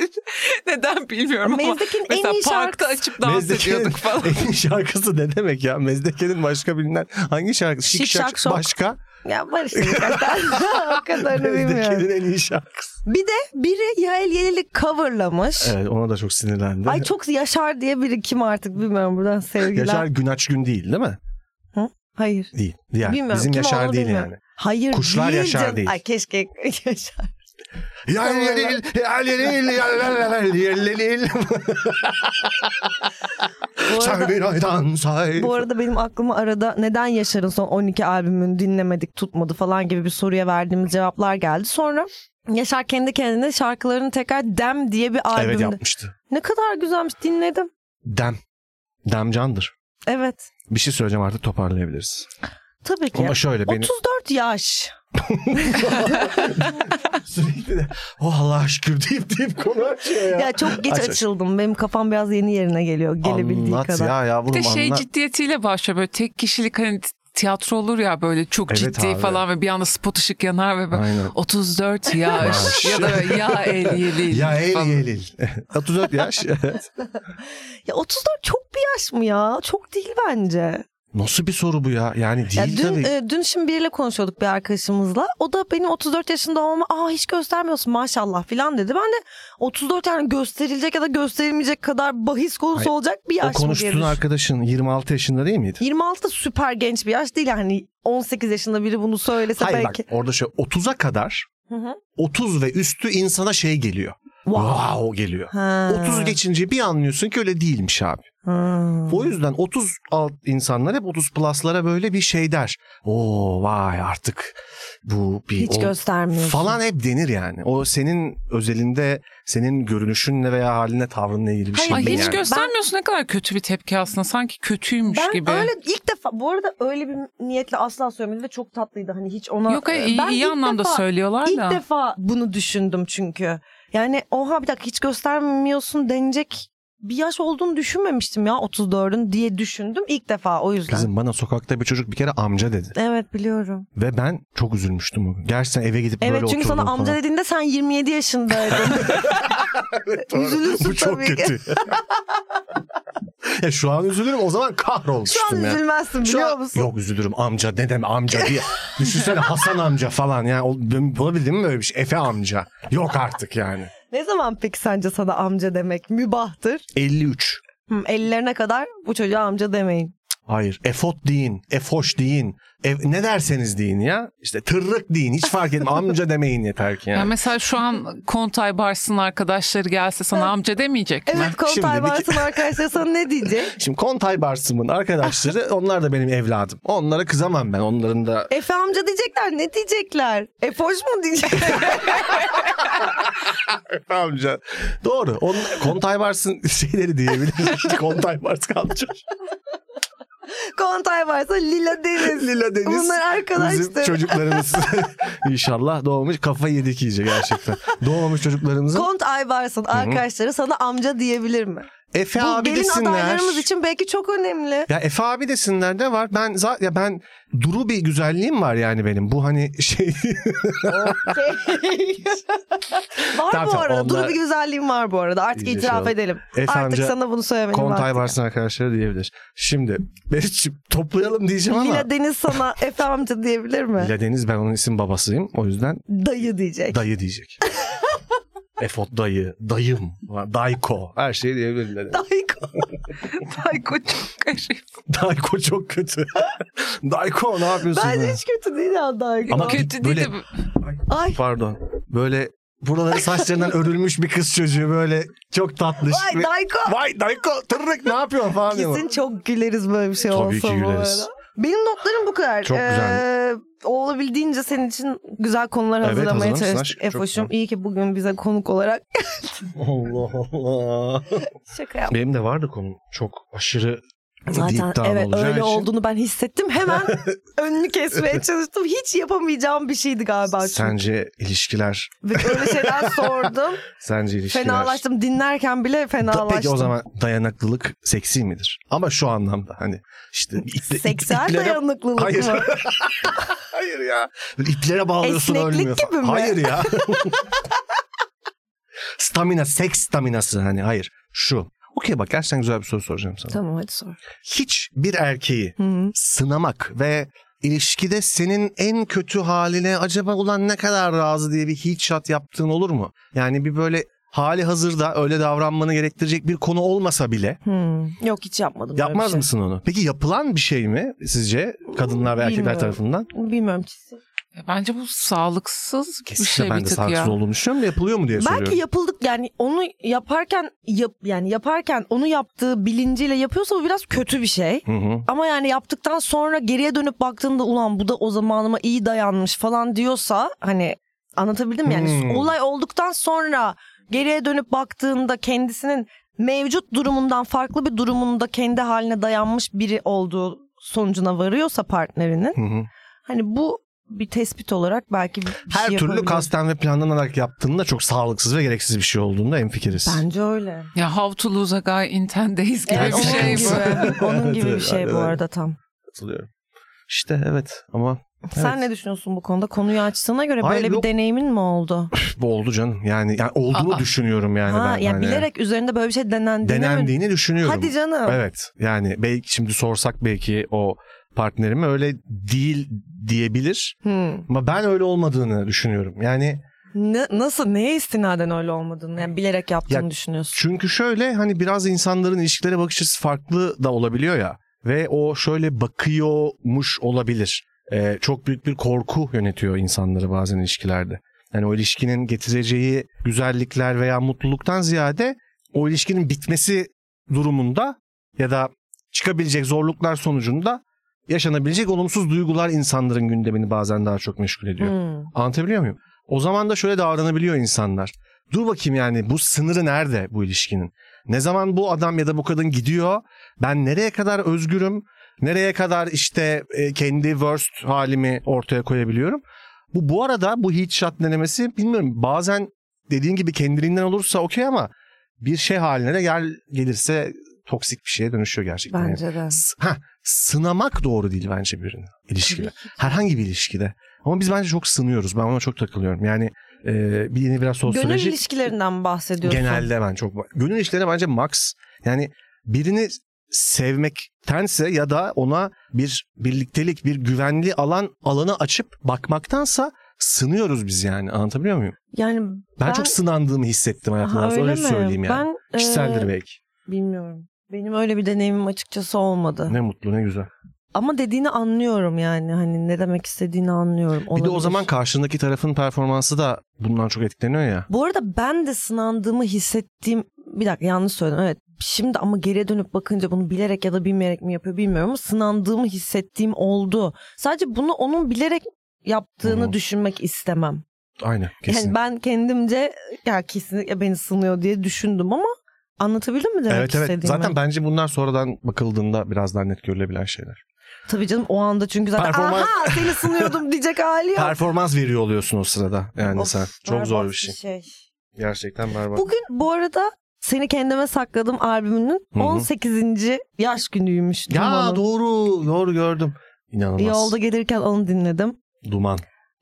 Neden bilmiyorum ama.
Mezdeki'nin en
Mesela
iyi
parkta
şarkısı.
açıp dans ediyorduk falan.
en iyi şarkısı ne demek ya? Mezdeke'nin başka bilinen hangi şarkısı? Şik,
Şik
şak,
şak şok.
başka.
Ya var işte birkaç tane. o kadarını bilmiyorum.
Mezdeke'nin en iyi şarkısı.
Bir de biri Yael Yelil'i coverlamış.
Evet ona da çok sinirlendi.
Ay çok Yaşar diye biri kim artık bilmiyorum buradan sevgiler.
Yaşar Günaç Gün değil değil mi?
Hayır.
Değil. Diğer.
Bilmiyorum,
Bizim
kim
Yaşar
olduğunu
değil
bilmiyorum.
yani.
Hayır
Kuşlar
değil
Yaşar
canım.
değil.
Ay keşke Yaşar.
Ya yelil, ya yelil, ya la la la, yelil.
Bu
Sen
arada,
bir aydan say.
bu arada benim aklıma arada neden Yaşar'ın son 12 albümünü dinlemedik tutmadı falan gibi bir soruya verdiğimiz cevaplar geldi. Sonra Yaşar kendi kendine şarkılarını tekrar Dem diye bir albümde.
Evet yapmıştı.
Ne kadar güzelmiş dinledim.
Dem. Demcandır.
Evet.
Bir şey söyleyeceğim artık toparlayabiliriz.
Tabii ki.
Ama şöyle beni
34 yaş.
sürekli de oh Allah şükür deyip deyip konu açıyor ya.
Ya çok geç
Aç, aç.
açıldım. Benim kafam biraz yeni yerine geliyor gelebildiği
şey- anlat
kadar.
ya
Bir
yavrum
de şey
anlat.
ciddiyetiyle başlıyor böyle tek kişilik hani t- tiyatro olur ya böyle çok
Evet
ciddi
abi.
falan ve bir anda spot ışık yanar ve böyle
Aynen.
34 yaş ya da böyle ya el yelil
Ya el
falan.
yelil. 34 yaş. evet.
Ya 34 çok bir yaş mı ya? Çok değil bence.
Nasıl bir soru bu ya? Yani
Ya
değil
dün
tabii.
e, dün şimdi biriyle konuşuyorduk bir arkadaşımızla. O da benim 34 yaşında olma aa hiç göstermiyorsun maşallah falan dedi. Ben de 34 yani gösterilecek ya da gösterilmeyecek kadar bahis konusu
Hayır,
olacak bir
o
yaş mı diye
konuştuğun
düşündüm.
arkadaşın 26 yaşında değil miydi?
26 da süper genç bir yaş değil hani 18 yaşında biri bunu söylese
Hayır
belki.
bak orada şöyle 30'a kadar
Hı hı.
30 ve üstü insana şey geliyor.
Wow.
Wow geliyor.
Ha.
30 geçince bir anlıyorsun ki öyle değilmiş abi.
Hmm.
O yüzden 30 alt insanlar hep 30 plus'lara böyle bir şey der. Oo vay artık bu bir
hiç
ol-
göstermiyorsun.
falan hep denir yani. O senin özelinde senin görünüşünle veya haline tavrınla ilgili bir şey
Ay
Hayır,
değil
hiç
yani.
göstermiyorsun ne kadar kötü bir tepki aslında sanki kötüymüş
Ben
gibi.
öyle ilk defa bu arada öyle bir niyetle asla söylemedim ve çok tatlıydı. Hani hiç ona
Yok hayır, iyi,
Ben
iyi
ilk
anlamda
defa-
söylüyorlar
İlk
da.
defa bunu düşündüm çünkü. Yani oha bir dakika hiç göstermiyorsun denecek bir yaş olduğunu düşünmemiştim ya 34'ün diye düşündüm ilk defa o yüzden.
Kızım bana sokakta bir çocuk bir kere amca dedi.
Evet biliyorum.
Ve ben çok üzülmüştüm o gün. Gerçekten eve gidip
Evet
böyle oturdum
çünkü sana amca
falan.
dediğinde sen 27 yaşındaydın. üzülürsün
Bu çok
tabii ki.
kötü. ya şu an üzülürüm o zaman kahrolmuştum
Şu an
ya.
üzülmezsin
Şu
biliyor
an-
musun?
Yok üzülürüm amca dedem amca diye. Düşünsene Hasan amca falan yani o- ben- bulabildim mi böyle bir şey? Efe amca. Yok artık yani.
Ne zaman peki sence sana amca demek mübahtır?
53.
Hı, ellerine kadar bu çocuğa amca demeyin.
Hayır efot deyin, efoş deyin, ev- ne derseniz deyin ya. İşte tırrık deyin hiç fark etmez amca demeyin yeter ki
Ya
yani.
mesela şu an Kontay Bars'ın arkadaşları gelse sana amca demeyecek mi?
Evet Kontay
şimdi bir-
Bartın arkadaşlar sana ne diyecek?
Şimdi Kontay Barsım'ın arkadaşları onlar da benim evladım. Onlara kızamam ben onların da.
Efe amca diyecekler ne diyecekler? Efoş mu diyecekler?
amca. Doğru. On, Kontay Bars'ın şeyleri diyebiliriz. Kontay Bars kalmış.
Kontay varsa Lila Deniz.
Lila Deniz.
Bunlar
Bizim
arkadaşlar.
çocuklarımız inşallah doğmamış kafa yedik iyice gerçekten. Doğmamış çocuklarımızın
Kont Aybars'ın arkadaşları sana amca diyebilir mi?
Efe
Bu
abi
gelin
desinler.
adaylarımız için belki çok önemli.
Ya Efe abi desinler de var. Ben za- ya ben duru bir güzelliğim var yani benim. Bu hani şey
var
Tamam,
bu
tamam,
arada.
onlar-
Dur bir güzelliğim var bu arada. Artık
İyice
itiraf
şey
edelim.
Efe
Artık
amca
sana bunu söylemeliyim.
Kontay
artık.
varsın arkadaşlar diyebilir. Şimdi Meriç'ciğim toplayalım diyeceğim ama.
Lila Deniz sana Efe amca diyebilir mi?
Lila Deniz ben onun isim babasıyım. O yüzden
Dayı diyecek.
dayı diyecek. Efot dayı, dayım, dayko her şeyi diyebilirler.
Dayı
Tayko çok garip.
Dayko çok kötü. dayko ne yapıyorsun?
Bence
be?
hiç kötü değil ya Dayı.
Ama ki-
Kötü değil de
böyle-
Ay
Pardon. Böyle buraları saçlarından örülmüş bir kız çocuğu böyle çok tatlış.
vay
ve-
Dayko.
Vay dayko tırrık ne yapıyorsun falan diyor.
Kesin çok güleriz böyle bir şey
Tabii ki
olsa bu
güleriz.
arada. Benim notlarım bu kadar.
Çok güzel.
Ee, olabildiğince senin için güzel konular
Evet,
hazırlamaya
hazırlamışsın
çalıştık
aşkım, çok
Efoş'um.
güzel.
İyi ki bugün bize konuk olarak
Allah Allah.
şaka yap.
Benim de vardı konu. Çok aşırı
Zaten
deep down
evet
olacağı
öyle
için.
olduğunu ben hissettim. Hemen önünü kesmeye çalıştım. Hiç yapamayacağım bir şeydi galiba. çünkü.
Sence ilişkiler,
Ve Böyle şeyler sordum.
sence ilişkiler.
fenalaştım. Dinlerken bile
Ta-
fenalaştım.
Peki o zaman dayanıklılık seksi midir? Ama şu anlamda hani işte iple, ip-
Seksüel
iplere-
dayanıklılık
Hayır.
mı?
Hayır ya. Böyle iplere bağlıyorsun
Esneklik
ölmüyor. falan.
gibi mi?
Hayır ya. Stamina, seks staminası hani hayır. Şu. Okey bak gerçekten güzel bir soru soracağım sana.
tamam hadi sor.
Hiç bir erkeği
Hı.
sınamak ve ilişkide senin en kötü haline acaba ulan ne kadar razı diye bir hiç shot yaptığın olur mu? Yani bir böyle hali hazırda öyle davranmanı gerektirecek bir konu olmasa bile
Hı. Yok hiç yapmadım. böyle bir
yapmaz
şey.
mısın onu? Peki yapılan bir şey mi sizce kadınlar ve erkekler
Bilmiyorum.
tarafından?
Bilmiyorum. çizim.
E, Bence bu sağlıksız
Kesinlikle
bir şey
ben
bir
de
tık
sağlıksız
ya.
olduğunu düşünüyorum da yapılıyor mu diye soruyorum.
Belki yapıldık yani onu yaparken yap, yani yaparken onu yaptığı bilinciyle yapıyorsa bu biraz kötü bir şey.
Hı hı.
Ama yani yaptıktan sonra geriye dönüp baktığında ulan bu da o zamanıma iyi dayanmış falan diyorsa hani anlatabildim mi? Yani
Hmm.
olay olduktan sonra geriye dönüp baktığında kendisinin mevcut durumundan farklı bir durumunda kendi haline dayanmış biri olduğu sonucuna varıyorsa partnerinin
hı hı.
hani bu bir tespit olarak belki bir şey
Her türlü
yapabilir.
kasten ve planlanarak yaptığında çok sağlıksız ve gereksiz bir şey olduğunda hemfikiriz.
Bence öyle.
Ya how to lose a guy in 10 days gibi
Evet,
Yani
onun
bir şey bu.
gibi, onun
Evet,
gibi bir
evet,
şey
aynen
bu
öyle.
arada tam.
Katılıyorum. İşte evet ama
Sen ne düşünüyorsun bu konuda? Konuyu açtığına göre
Hayır,
böyle bir
yok.
deneyimin mi oldu?
Bu oldu canım. Yani, yani olduğunu
Aa.
düşünüyorum yani
ha,
ben.
yani
Hani
bilerek üzerinde böyle bir şey denendiğini mi?
denendiğini düşünüyorum.
Hadi canım.
Evet. Yani belki şimdi sorsak belki o partnerime öyle değil diyebilir.
Hmm.
Ama ben öyle olmadığını düşünüyorum. Yani
Ne- nasıl neye istinaden öyle olmadığını yani bilerek yaptığını düşünüyorsun.
çünkü şöyle hani biraz insanların ilişkilere bakış açısı farklı da olabiliyor ya. Ve o şöyle bakıyormuş olabilir. Ee, çok büyük bir korku yönetiyor insanları bazen ilişkilerde. Yani o ilişkinin getireceği güzellikler veya mutluluktan ziyade o ilişkinin bitmesi durumunda ya da çıkabilecek zorluklar sonucunda yaşanabilecek olumsuz duygular insanların gündemini bazen daha çok meşgul ediyor.
Hmm.
Anlatabiliyor muyum? O zaman da şöyle davranabiliyor insanlar. Dur bakayım yani bu sınırı nerede bu ilişkinin? Ne zaman bu adam ya da bu kadın gidiyor? Ben nereye kadar özgürüm? Nereye kadar işte e, kendi worst halimi ortaya koyabiliyorum? Bu bu arada bu heat shot denemesi bilmiyorum bazen dediğin gibi kendiliğinden olursa okey ama bir şey haline de gel gelirse toksik bir şeye dönüşüyor gerçekten. Yani
Bence de.
S- ha, sınamak doğru değil bence birini ilişkide. Herhangi bir ilişkide. Ama biz bence çok sınıyoruz. Ben ona çok takılıyorum. Yani e, bir yeni biraz
Gönül
sosyoloji
ilişkilerinden bahsediyorsun.
genelde ben çok gönül ilişkilerine bence max. Yani birini sevmektense ya da ona bir birliktelik, bir güvenli alan alanı açıp bakmaktansa sınıyoruz biz yani. Anlatabiliyor muyum?
Yani
Ben,
Ben-
çok sınandığımı hissettim
Aha,
hayatımda. Öyle,
öyle mi?
söyleyeyim yani.
Ben,
Kişiseldir
e,
belki.
Bilmiyorum. Benim öyle bir deneyimim açıkçası olmadı.
Ne mutlu ne güzel.
Ama dediğini anlıyorum yani. Hani ne demek istediğini anlıyorum.
Bir de o
Olabilir.
zaman karşındaki tarafın performansı da bundan çok etkileniyor ya.
Bu arada ben de sınandığımı hissettiğim bir dakika yanlış söyledim evet. Şimdi ama geriye dönüp bakınca bunu bilerek ya da bilmeyerek mi yapıyor bilmiyorum ama sınandığımı hissettiğim oldu. Sadece bunu onun bilerek yaptığını
Hı.
düşünmek istemem.
Aynen kesin.
Yani ben kendimce ya kesinlikle beni sınıyor diye düşündüm ama anlatabildim mi demek
evet evet.
istediğimi?
Zaten bence bunlar sonradan bakıldığında biraz daha net görülebilen şeyler.
Tabii canım o anda çünkü zaten
Performans-
aha seni sınıyordum diyecek hali yok.
Performans veriyor oluyorsun o sırada. Yani
Of, şey.
sen çok
berbat
zor bir şey. Gerçekten berbat.
Bugün bu arada Seni Kendime Sakladım albümünün
Hı hı.
18. yaş günüymüş.
Ya
Duman'ın.
doğru doğru gördüm. İnanılmaz.
Yolda gelirken onu dinledim.
Duman.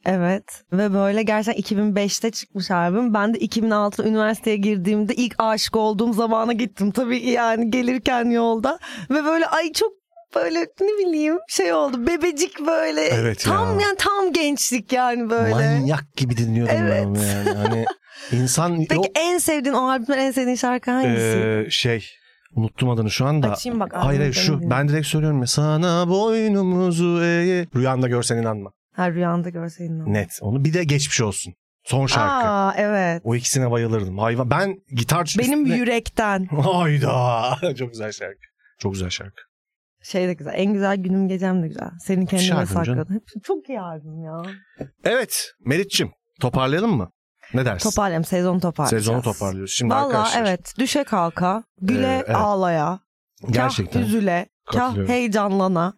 Evet ve böyle gerçekten 2005'te çıkmış albüm. Ben de 2006'da üniversiteye girdiğimde ilk aşık olduğum zamana gittim. Tabii yani gelirken yolda ve böyle ay çok böyle ne bileyim şey oldu bebecik böyle
Evet
tam
ya.
yani tam gençlik yani böyle.
Manyak gibi dinliyordum ben onu yani. Hani insan
Peki
yok.
en sevdiğin o albümden en sevdiğin şarkı hangisi?
Ee, şey unuttum adını şu anda.
Açayım bak,
Ee, Hayır hayır
ağzını
şu
deneyeyim.
ben direkt söylüyorum ya sana boynumuzu eğe. Rüyanda görsen inanma.
Her rüyanda görseydin onu.
Net onu bir de geçmiş olsun. Son şarkı.
Aa evet.
O ikisine bayılırdım. Hayvan ben gitar
Benim
üstüne-
yürekten.
Hayda. Çok güzel şarkı. Çok güzel şarkı.
Şey de güzel. En güzel günüm gecem de güzel. Senin kendine
albüm canım.
sakladın. Hep- Çok iyi albüm ya.
Evet Meriç'cim toparlayalım mı? Ne dersin?
Toparlayalım. Sezon toparlayacağız.
Sezonu toparlıyoruz. Şimdi
Valla
arkadaşlar
evet düşe kalka, güle
Ee, evet.
ağlaya,
gerçekten
kah üzüle, kah
Katılıyorum.
heyecanlana.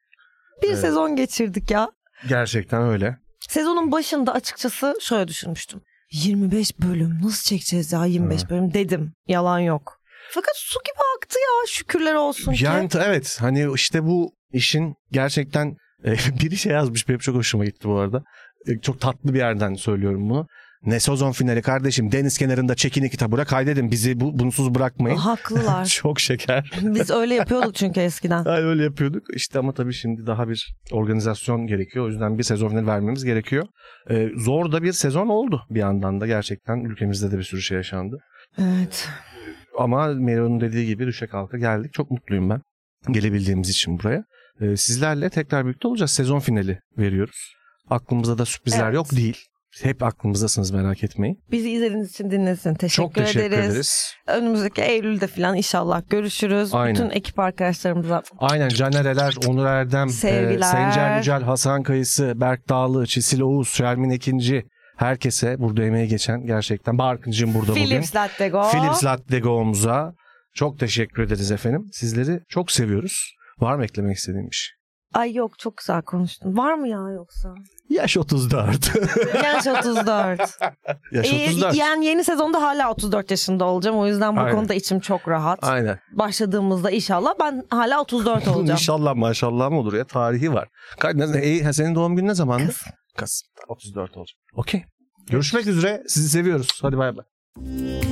Bir
Evet.
sezon geçirdik ya.
gerçekten öyle.
Sezonun başında açıkçası şöyle düşünmüştüm. 25 bölüm nasıl çekeceğiz ya 25 bölüm dedim. Yalan yok. Fakat su gibi aktı ya şükürler olsun
Yani
ki.
t- evet hani işte bu işin gerçekten e, biri şey yazmış benim çok hoşuma gitti bu arada. E, Çok tatlı bir yerden söylüyorum bunu. Ne sezon finali kardeşim deniz kenarında çekini kitabıra kaydedin bizi bu, bunsuz bırakmayın.
Haklılar.
çok şeker.
Biz öyle yapıyorduk çünkü eskiden.
Ay, öyle yapıyorduk. İşte ama tabii şimdi daha bir organizasyon gerekiyor. O yüzden bir sezon finali vermemiz gerekiyor. E, zor da bir sezon oldu bir yandan da gerçekten ülkemizde de bir sürü şey yaşandı.
Evet.
Ama Meron'un dediği gibi düşe kalka geldik. Çok mutluyum ben gelebildiğimiz için buraya. Ee, sizlerle tekrar birlikte olacağız. Sezon finali veriyoruz. Aklımızda da sürprizler
Evet.
yok değil. Hep aklımızdasınız merak etmeyin.
Bizi izlediğiniz için dinlesin. Teşekkür,
Çok teşekkür ederiz.
Önümüzdeki Eylül'de falan inşallah görüşürüz.
Aynen.
Bütün ekip arkadaşlarımıza
Aynen Caner Eler, Onur Erdem,
Sevgiler.
Sencer Yücel, Hasan Kayısı, Berk Dağlı, Çisil Oğuz, Şermin Ekinci. Herkese burada emeğe geçen gerçekten. Barkıncığım burada bugün.
Philips Latte Go.
Philips Latte Go'muza çok teşekkür ederiz efendim. Sizleri çok seviyoruz. Var mı eklemek istediğim bir şey?
Ay yok çok güzel konuştun. Var mı ya yoksa?
Yaş 34.
Genç 34.
Yaş
Ee,
34.
yani yeni sezonda hala 34 yaşında olacağım. O yüzden bu
Aynen.
konuda içim çok rahat.
Aynen.
Başladığımızda inşallah ben hala 34
Bunun
olacağım.
inşallah maşallah mı olur ya tarihi var. Ka- ne- e, ha, senin doğum günün ne zamandı? Kasım. 34 olacak. Okey. Görüşmek üzere. Sizi seviyoruz. Hadi bay bay.